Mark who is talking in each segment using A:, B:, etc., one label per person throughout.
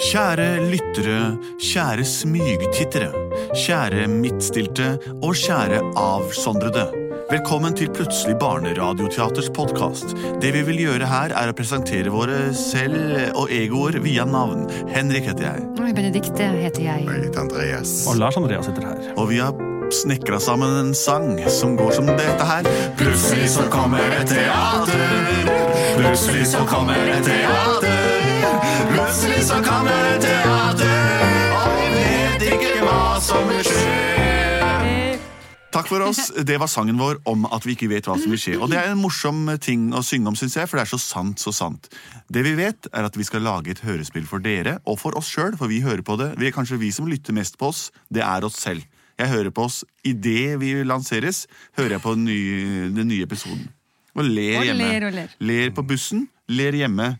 A: Kjære lyttere, kjære smygtittere, kjære midtstilte og kjære avsondrede. Velkommen til Plutselig barneradioteaters podkast. Det vi vil gjøre her, er å presentere våre selv og egoer via navn. Henrik heter jeg.
B: Oi, Benedikte heter jeg.
C: Jeg heter Andreas.
D: Og Lars Andreas sitter her.
A: Og vi har snekra sammen en sang som går som dette her.
C: Plutselig så kommer et teater. Plutselig så kommer et teater. Plutselig så kommer et teater. Og vi vet ikke hva som vil skje.
A: Takk for oss. Det var sangen vår om at vi ikke vet hva som vil skje. Og det er en morsom ting å synge om, syns jeg, for det er så sant, så sant. Det vi vet, er at vi skal lage et hørespill for dere, og for oss sjøl, for vi hører på det. Vi, kanskje vi som lytter mest på oss, det er oss selv. Jeg hører på oss idet vi lanseres, hører jeg på den nye, den nye episoden. Og ler
B: Og
A: hjemme.
B: ler og ler.
A: på bussen, ler hjemme.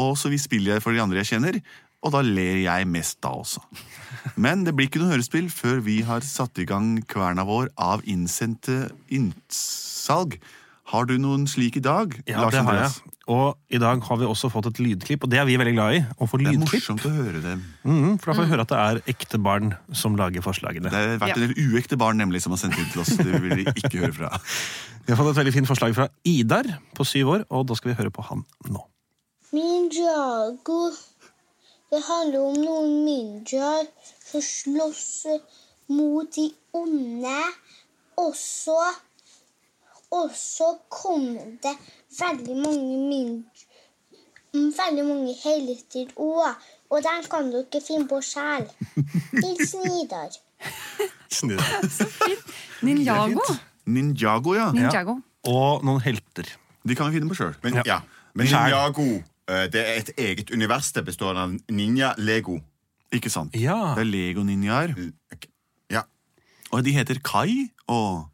A: Og så vi spiller jeg for de andre jeg kjenner, og da ler jeg mest da også. Men det blir ikke noe hørespill før vi har satt i gang kverna vår av innsendte innsalg. Har du noen slik i dag?
D: Ja,
A: Lars
D: det har
A: Andreas?
D: jeg. Og i dag har vi også fått et lydklipp, og det er vi veldig glad i. Å få
A: Det er
D: lydklipp.
A: morsomt å høre det.
D: Mhm, for da får vi høre at det er ekte barn som lager forslagene.
A: Det har vært en del uekte barn nemlig som har sendt inn til oss. Det vil de ikke høre fra.
D: Vi har fått et veldig fint forslag fra Idar på syv år, og da skal vi høre på han nå.
E: Ninjago. Det handler om noen ninjaer som slåss mot de onde. Og så Og så kom det veldig mange ninj... Veldig mange helter òg. Og den kan du ikke finne på sjæl. Hilsen Idar.
B: Ninjago.
A: Ninjago, ja.
B: Ninjago.
D: Og noen helter.
A: De kan vi finne på sjøl.
C: Men,
D: Ja.
C: ja. Men
D: Skjær.
C: Ninjago eh, det er et eget univers det består av ninja, lego
A: Ikke sant?
D: Ja.
A: Det er Lego-ninjaer.
C: Ja,
A: Og de heter Kai og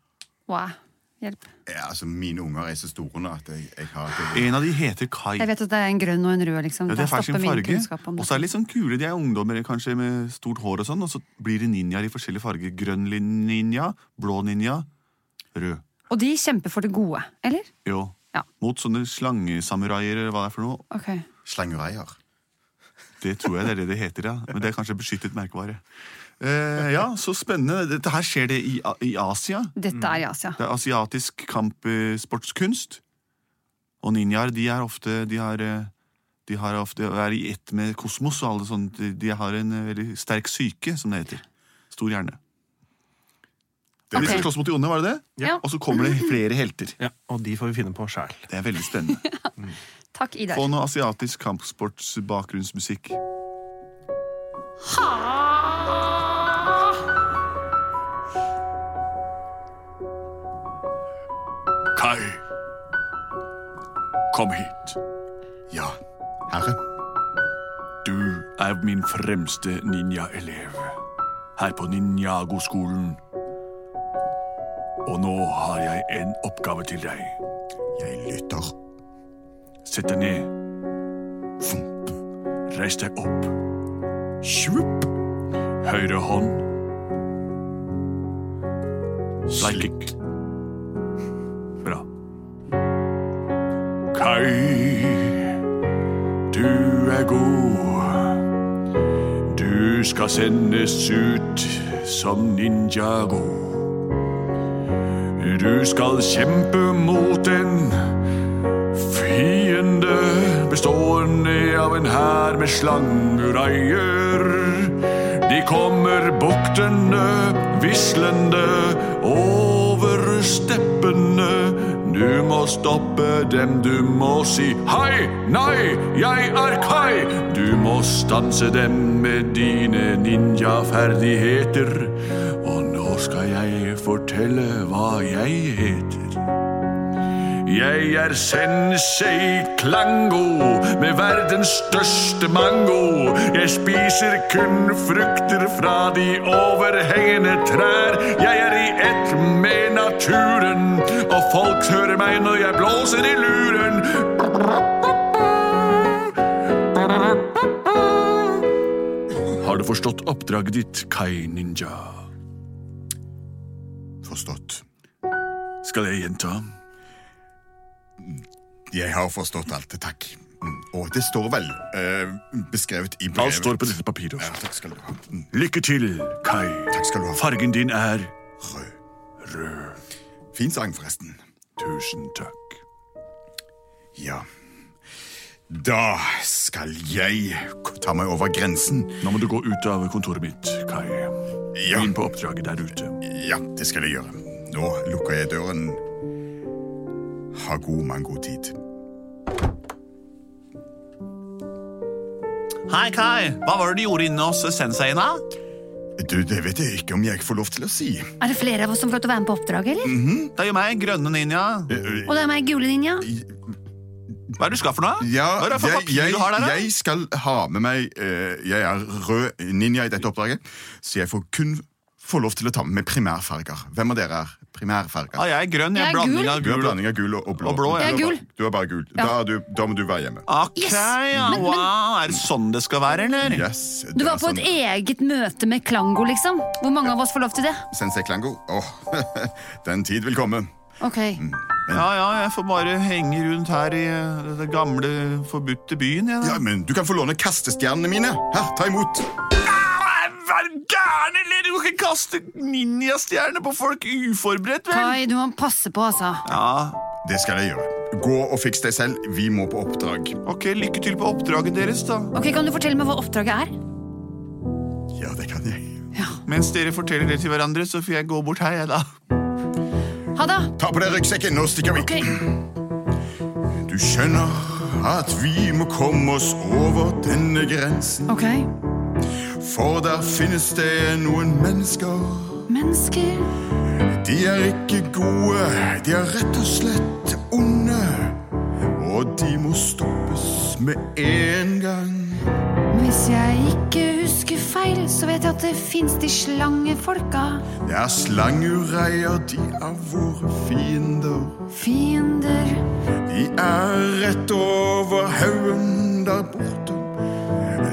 B: Wow. Hjelp.
C: ja altså Mine unger er så store nå at jeg, jeg har det.
A: En av de heter Kai.
B: Jeg vet at det er en grønn og en rød, liksom.
A: Ja, det
B: Der
A: er hver sin
B: stopper min
A: farge.
B: kunnskap om
A: Og
B: det.
A: så er de litt sånn kule. De er ungdommer kanskje med stort hår og sånn, og så blir de ninjaer i forskjellige farger. Grønn lin- ninja, blå ninja, rød.
B: Og de kjemper for det gode, eller?
A: Jo.
B: Ja.
A: Mot sånne slangesamuraier eller hva det er for noe.
B: Ok.
C: Slangereier.
A: Det tror jeg det er det det heter, ja. Men det er kanskje beskyttet merkevare. Eh, ja, så spennende. Dette her skjer det i, A- i Asia.
B: Dette er i Asia.
A: Det er asiatisk kampsportskunst. Og ninjaer, de er ofte De har eh, de har ofte, er i ett med kosmos og alle sånne de- De har en eh, veldig sterk psyke, som det heter. Stor hjerne.
C: Det
A: De
B: Ok.
A: skal slåss mot de onde, var det det?
B: Ja.
A: Og så kommer det flere helter.
D: Ja, og de får vi finne på sjæl.
A: Det er veldig spennende.
B: Takk, Idar.
A: Få noe asiatisk kampsportsbakgrunnsmusikk.
C: Kai, kom hit. Ja, herre.
A: Du er min fremste ninjaelev her på Ninjago-skolen. Og nå har jeg en oppgave til deg.
C: Jeg lytter.
A: Sett deg ned. Fump. Reis deg opp. Svupp. Høyre hånd. Slikk. Bra. Kai, du er god. Du skal sendes ut som ninjago. Du skal kjempe mot en Fiende bestående av en hær med slangereier. De kommer buktende, vislende over steppene. Du må stoppe dem, du må si hei, nei, jeg er Kai. Du må stanse dem med dine ninjaferdigheter. Og nå skal jeg fortelle hva jeg heter.
C: Jeg er sensei Klango med verdens største mango. Jeg spiser kun frukter fra de overhengende trær. Jeg er i ett med naturen, og folk hører meg når jeg blåser i luren. Har du forstått oppdraget ditt, Kai Ninja?
F: Forstått.
C: Skal jeg gjenta?
F: Jeg har forstått alt. Takk. Mm, Og det står vel eh, beskrevet i brevet.
C: Alt står på dette papiret.
F: Ja, takk skal du ha. Mm,
C: Lykke til, Kai.
F: Takk skal du ha.
C: Fargen din er
F: Rød.
C: rød.
F: Fin sang, forresten.
C: Tusen takk.
F: Ja. Da skal jeg k- ta meg over grensen.
C: Nå må du gå ut av kontoret mitt, Kai.
F: Ja,
C: Inn på oppdraget der ute.
F: ja det skal jeg gjøre. Nå lukker jeg døren. Ha god mangotid.
G: Hei, Kai. Hva var det du gjorde inne hos senseien, da?
F: Du, det vet jeg ikke om jeg får lov til å si.
B: Er det flere av oss som får lov til å være med på oppdraget,
A: Mm.
B: eller?
G: Det er jo meg, grønne ninja.
B: Og det er meg, gule ninja.
G: Hva er det du skal for noe?
F: Ja,
G: Hva er det for
F: jeg,
G: papir
F: jeg,
G: du har der, da?
F: jeg skal ha med meg eh, Jeg er rød ninja i dette oppdraget, så jeg får kun få lov til å ta med meg primærfarger. Hvem av dere er primærfarger?
G: Ah, jeg er grønn.
B: Jeg
G: Jeg er
B: er
G: blanding
B: gul.
G: av
F: Du er
G: gul og
F: blanding av gul og, og blå.
G: Og blå, ja.
F: Du
B: Jeg er
F: bare-
B: gul.
F: Du er bare gul. Da, er du, da må du være hjemme.
G: Ok,
B: Yes.
G: ja,
B: Men- men-
G: wow. Er det sånn det skal være, eller?
F: Yes,
B: Du
F: det er
B: var på
A: altså-
F: sånn.
B: et eget møte med Klango, liksom. Hvor mange av oss får lov til det?
F: Sensei Klango. Åh, den tid vil komme.
B: Ok.
A: Mm.
G: Ja, ja, jeg får bare henge rundt her i eh, den gamle, forbudte byen. Jeg, da.
F: Ja, men Du kan få låne kastestjernene mine. Her, ta imot.
G: Hva er du gæren, eller? Du kan ikke kaste ninjastjerner på folk uforberedt, vel?
B: Kai, du må passe på, altså.
G: Ja,
F: Det skal jeg gjøre. Gå og fiks deg selv. Vi må på oppdrag.
G: ok, lykke til på oppdraget deres, da.
B: Ok, Kan du fortelle meg hva oppdraget er?
F: Ja, det kan jeg.
B: Ja.
G: Mens dere forteller det til hverandre, så får jeg gå bort her, jeg, da.
B: Ha det.
F: Ta på deg ryggsekken, nå stikker vi.
B: Ok.
F: Du skjønner at vi må komme oss over denne grensen.
B: Ok.
F: For der finnes det noen mennesker.
B: Mennesker
F: De er ikke gode, de er rett og slett onde. Og de må stoppes med en gang.
B: Hvis jeg ikke husker feil, så vet jeg at det fins de slangefolka.
F: Det er slangureier, de er våre fiender.
B: Fiender.
F: De er rett over haugen der borte.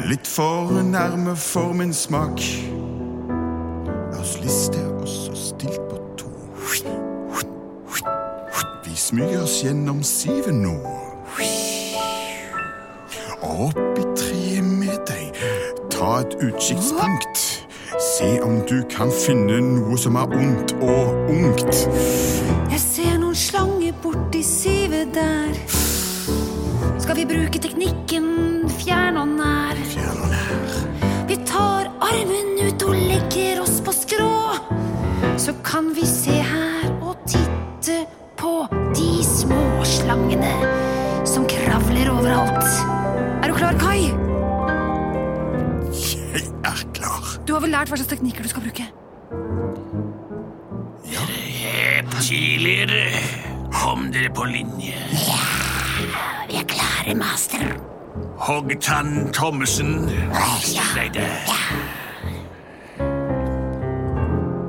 F: Litt for nærme for min smak. La oss liste oss så stilt på tå. Vi smyger oss gjennom sivet nå. Og opp i treet med deg. Ta et utkikkspunkt. Se om du kan finne noe som er ondt og ungt.
B: Jeg ser noen slanger borti sivet der. Skal vi bruke teknikken fjern og nær?
F: Fjern og nær.
B: Vi tar armen ut og legger oss på skrå. Så kan vi se her og titte på de små slangene som kravler overalt. Er du klar, Kai?
F: Jeg er klar.
B: Du har vel lært hva slags teknikker du skal bruke?
G: Kom dere på linje.
B: Vi er klare, master.
G: Hoggtann Thommessen, still deg der.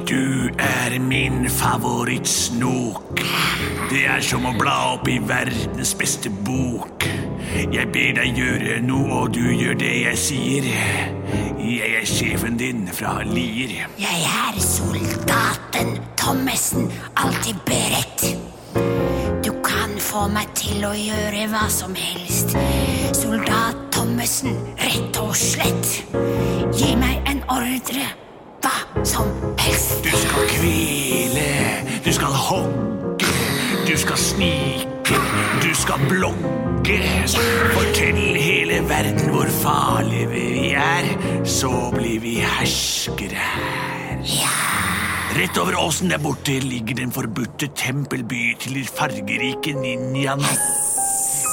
G: Du er min favorittsnok. Det er som å bla opp i verdens beste bok. Jeg ber deg gjøre noe, og du gjør det jeg sier. Jeg er sjefen din fra Lier.
H: Jeg er soldaten Thommessen, alltid beredt. Du kan få meg til å gjøre hva som helst. Soldat Thommessen, rett og slett. Gi meg en ordre, hva som helst.
G: Du skal kvele, du skal hogge, du skal snike, du skal blokke. Fortell hele verden hvor farlige vi er, så blir vi herskere her. Rett over åsen der borte ligger den forbudte tempelby til de fargerike ninjaene.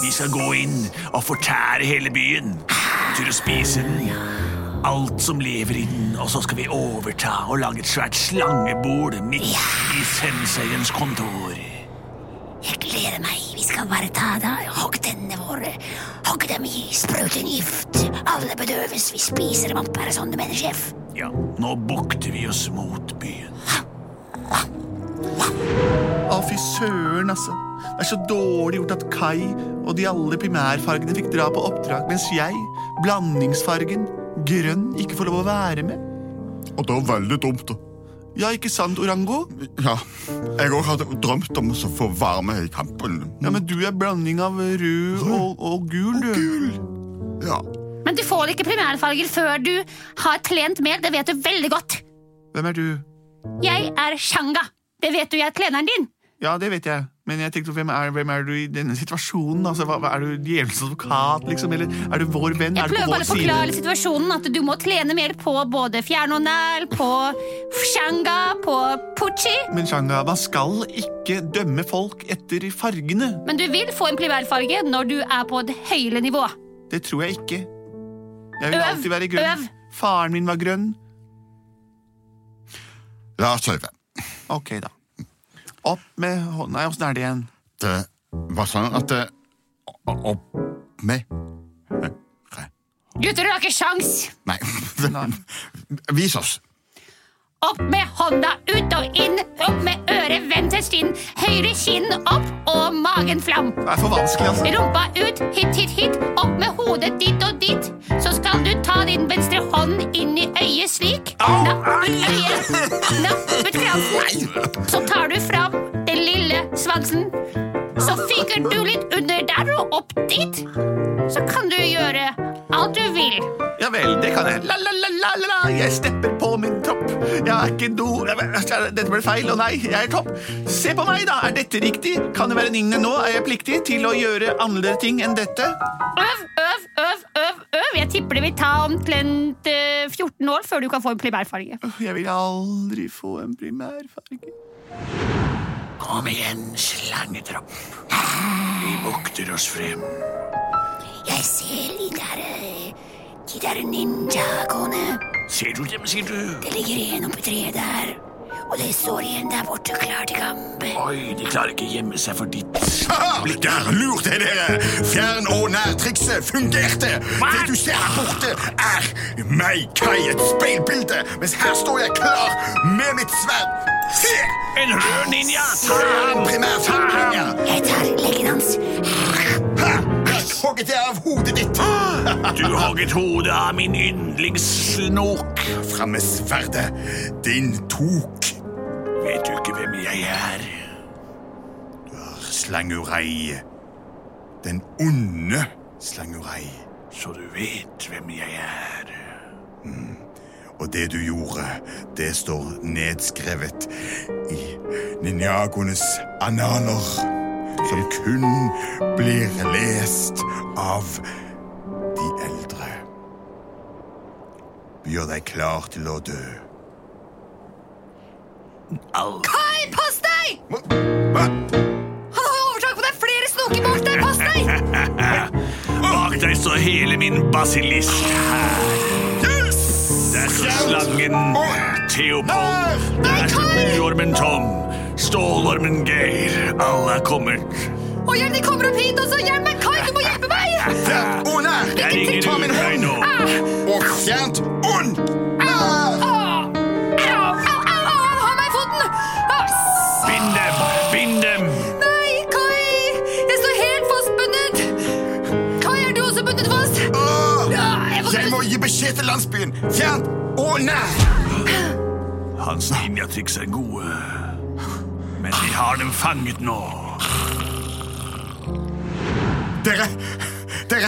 G: Vi skal gå inn og fortære hele byen. Til å spise den. Alt som lever i den, og så skal vi overta og lage et svært slangebord midt i senseiens kontor.
H: Jeg gleder meg. skal bare ta deg. Hogg tennene våre. Hogg dem i. Sprut inn gift. Alle bedøves. Vi spiser dem opp. Er det sånn du mener, sjef?
G: Ja, nå bukter vi oss mot byen.
A: Å, fy søren, altså. Det er så dårlig gjort at Kai og de alle primærfargene fikk dra på oppdrag, mens jeg, blandingsfargen, grønn, ikke får lov å være med.
F: Og det var veldig dumt. da.
A: Ja, ikke sant, Orango?
F: Ja, jeg òg hadde drømt om å få være med i kampen.
A: Ja, men du er blanding av rød og, og gul, du.
F: Gul! Ja,
B: Men du får ikke primærfarger før du har trent mer, det vet du veldig godt.
A: Hvem er du?
B: Jeg er Shanga. Det vet du, jeg er treneren din.
A: Ja, det vet jeg. Men jeg tenkte, hvem er, hvem er du i denne situasjonen? Altså, hva, hva, er du djevelens advokat, liksom? Eller er du vår venn?
B: Jeg
A: er du
B: prøver
A: på
B: bare
A: vår
B: å
A: side?
B: forklare situasjonen at du må trene mer på både fjernåndæl, på Shanga, på Pucci.
A: Men Shanga, man skal ikke dømme folk etter fargene.
B: Men du vil få en primærfarge når du er på et høyere nivå.
A: Det tror jeg ikke. Jeg vil
B: Øv,
A: alltid være grønn.
B: øv.
A: Faren min var grønn.
F: La oss øve.
A: Ok, da. Opp med hånda Nei, åssen er det igjen?
F: Det var sånn at det, Opp med høyre
B: Gutter, du har ikke sjans!
F: Nei. Vis oss.
B: Opp med hånda, ut og inn, opp med øret, vendt til stinn, høyre kinn opp og magen fram.
A: Det er for vanskelig, altså.
B: Rumpa ut, hit, hit, hit, opp med hodet dit og dit. Så skal du ta din venstre hånd inn i øyet slik. Napp i øyet, napp ut kransen. Så tar du fram den lille svansen. Så fyker du litt under der og opp dit. Så kan du gjøre alt du vil.
A: Ja vel, det kan jeg. La-la-la-la-la, jeg stepper på min topp. Jeg er ikke do... Nei, men, altså, Dette ble feil, og nei, jeg er topp. Se på meg, da. Er dette riktig? Kan det være lignende nå? Er jeg pliktig til å gjøre andre ting enn dette?
B: Øv, øv, øv, øv, øv. Jeg tipper det vil ta omtrent eh, 14 år før du kan få en primærfarge.
A: Jeg vil aldri få en primærfarge.
G: Kom igjen, slangetropp. Vi bukter oss frem.
H: Jeg ser de der eh, De der ninjagoene.
G: Ser du dem, sier du?
H: Det ligger en oppi treet der. Og det står igjen der borte, klar til kamp.
G: Oi, de klarer ikke gjemme seg for ditt
F: Haha, Der lurte jeg dere! Fjern- oh, eh, og nærtrikset fungerte! Det du ser her borte, er meg, Kai, et speilbilde, mens her står jeg klar med mitt sverd. Se!
G: En rød ninja! Ta
F: Fjern
G: ham!
F: primærfargen! ja. Ah,
H: Jeg tar leggen hans.
F: Ha! Jeg hogget jeg av hodet ditt.
G: Du hogget hodet av min yndlingssnok.
F: Fram med sverdet. Din tok.
G: Vet du ikke hvem jeg er?
F: Slangurei. Den onde slangurei.
G: Så du vet hvem jeg er.
F: Og det du gjorde, det står nedskrevet i ninjagoenes analer, som kun blir lest av de eldre. Gjør deg klar til å dø.
G: Alt
B: Hei, pass deg!
F: Hva?
B: Han har overtak på deg! Flere snoker bak deg! Pass deg!
G: Bak deg står hele min basilisk.
F: Yes!
G: Der står slangen Theopold. Der står buormen Tom. Stålormen Geir. Alle er kommet.
B: Og hjelp, de kommer opp hit også! Hjelp meg, Kai! Du må hjelpe meg! Ah!
F: Fjern og nær!
G: Jeg ringer
F: Ta min
G: ut deg
F: hånd
G: nå.
F: og fjernt ond! Nær!
B: Au, au, au, au, au, ha meg i foten! Au,
G: Bind dem! Bind dem!
B: Nei, Kai! Jeg står helt fastbundet! Kai, er du også bundet fast?
F: Åh!
B: Ja, jeg får
F: Jeg må gi beskjed til landsbyen. Fjern og nær!
G: Hans ninjatriks er gode. Men de har dem fanget nå.
F: Dere Dere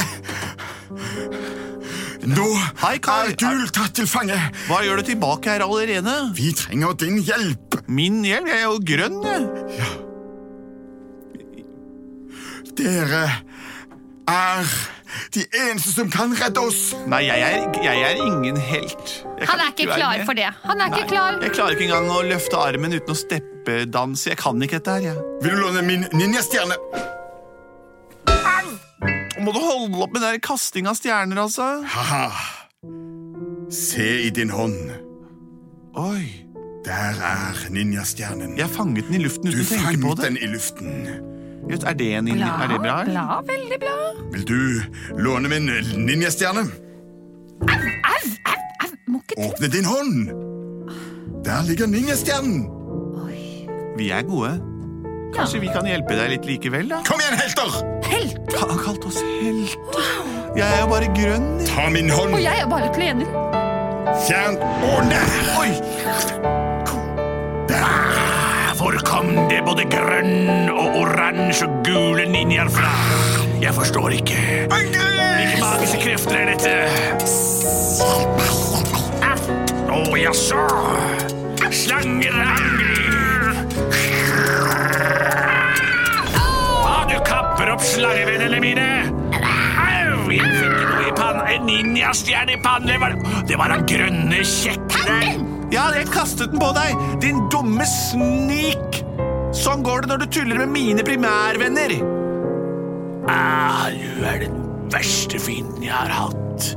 F: Nå
A: Hei, Kai.
F: er Gul tatt til fange.
A: Hva gjør du tilbake her allerede?
F: Vi trenger din hjelp.
A: Min hjelm? Jeg er jo grønn, jeg.
F: Dere er de eneste som kan redde oss.
A: Nei, jeg er, jeg er ingen helt. Jeg
B: Han
A: kan
B: er ikke
A: være
B: klar
A: med.
B: for det. Han er ikke
A: Nei,
B: klar.
A: Jeg klarer ikke engang å løfte armen uten å steppedanse. Jeg kan ikke dette her, jeg.
F: Vil du låne min ninjastjerne?
A: Må du holde opp med den der kasting av stjerner, altså?
F: Haha. Se i din hånd.
A: Oi,
F: Der er ninjastjernen.
A: jeg fanget den i luften
F: Du
A: uten å tenke på
F: fanget
A: det.
F: den i luften.
A: Jøss, er det en inn-
B: Bla,
A: Er det bra? eller?
B: bla, veldig bra.
F: Vil du låne min ninjastjerne?
B: Au, au, au, må ikke tro
F: Åpne din hånd! Der ligger ninjastjernen!
A: Vi er gode. Kanskje vi kan hjelpe deg litt likevel, da?
F: Kom igjen, helter!
B: Helt!
A: Han har kalt oss helter. Jeg er jo bare grønn. jeg.
F: Ta min hånd,
B: Og jeg er bare klener.
F: fjern og nær!
A: Oi!
G: Hvor kom det både grønn og oransje og gule ninjaer fra? Jeg forstår ikke. Hvilke magiske krefter er dette? Å, jaså. Slanger angrer. Har du kapper opp slangevennene mine? Au, jeg fikk noe i pannen. En ninjastjerne i pannen. Det var, det var han grønne kjekken.
A: Ja, jeg kastet den på deg, din dumme snik! Sånn går det når du tuller med mine primærvenner.
G: Ah, du er den verste fienden jeg har hatt.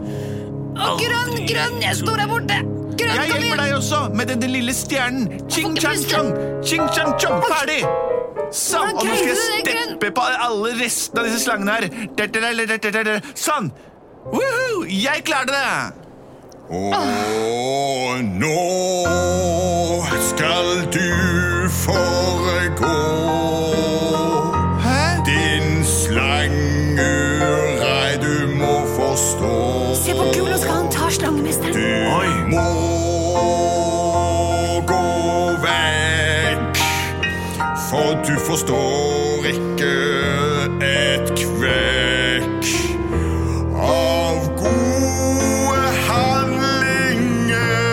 B: Grønn,
G: Aldri-
B: grønn, jeg står her borte. Grønn,
A: Jeg
B: kom
A: hjelper
B: igjen.
A: deg også med den, den lille stjernen. Ching chang chong, ching chang chong, ferdig! Sånn, og nå skal jeg
B: Hvordan greide du det, Grønn?
A: steppe på alle restene av disse slangene her. Der, der, der, der, der, der. Sånn! Woohoo! Jeg klarte det!
F: Og nå skal du foregå.
A: Hæ?
F: Din slangerei du må forstå.
B: Se på Gulo, skal han ta
F: Du
B: slangemesteren?
G: Oi.
F: må gå vekk, for du forstår ikke et kvekk av gode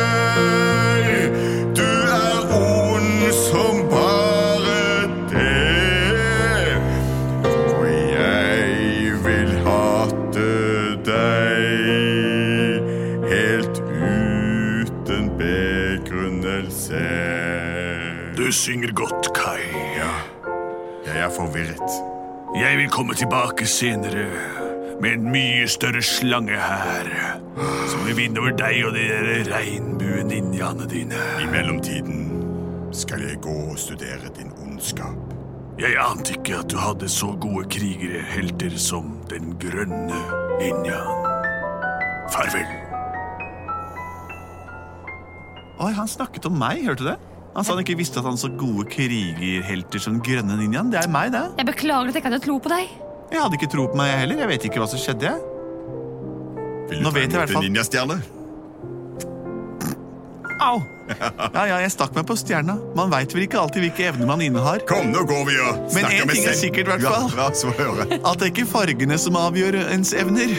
F: handlinger. Du er ond som bare det. For jeg vil hate deg helt uten begrunnelse.
G: Du synger godt, Kai.
F: Ja, jeg er forvirret.
G: Jeg vil komme tilbake senere med en mye større slange her. Som vil vinne over deg og de der regnbue-ninjaene dine.
F: I mellomtiden skal jeg gå og studere din ondskap.
G: Jeg ante ikke at du hadde så gode krigere, helter som den grønne ninjaen. Farvel.
A: Oi, han snakket om meg, hørte du det? Han sa han ikke visste at han så gode krigerhelter som den grønne ninjaen. Det er meg, det.
B: Jeg beklager at jeg ikke hadde tro på deg.
A: Jeg hadde ikke tro på meg, jeg heller. Jeg vet ikke hva som skjedde. jeg.
F: Vil du
A: Nå
F: ta
A: vet jeg i hvert
F: imot
A: fall-
F: en ninjastjerne?
A: Au! Ja, ja, jeg stakk meg på stjerna. Man veit vel ikke alltid hvilke evner man innehar.
F: Kom, nå går vi og
A: Men
F: snakker
A: en
F: med
A: ting er sikkert i hvert fall.
F: Ja, la oss få høre.
A: At det ikke er fargene som avgjør ens evner.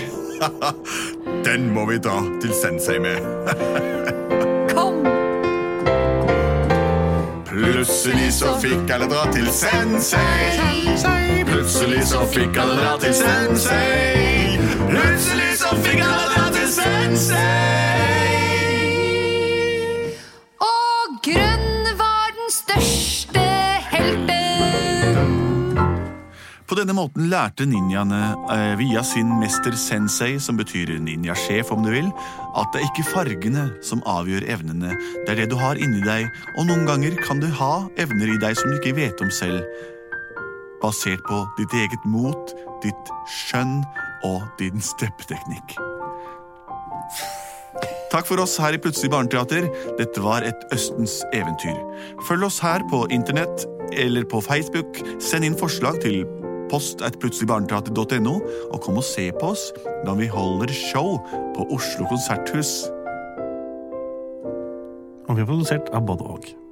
F: Den må vi dra til sensei med.
B: Kom!
F: Plutselig så fikk alle dra til sensei. Plutselig så fikk alle dra til sensei. Plutselig så fikk alle dra til sensei.
B: Og grønn var den største helten.
A: På denne måten lærte ninjaene eh, via sin mester sensei, som betyr ninjasjef om du vil, at det er ikke fargene som avgjør evnene. Det er det du har inni deg, og noen ganger kan du ha evner i deg som du ikke vet om selv. Basert på ditt eget mot, ditt skjønn og din steppeteknikk. Takk for oss her i Plutselig barneteater. Dette var et Østens eventyr. Følg oss her på internett eller på Facebook. Send inn forslag til post at plutseligbarneteater.no, og kom og se på oss når vi holder show på Oslo Konserthus.
D: Og vi er produsert av både og.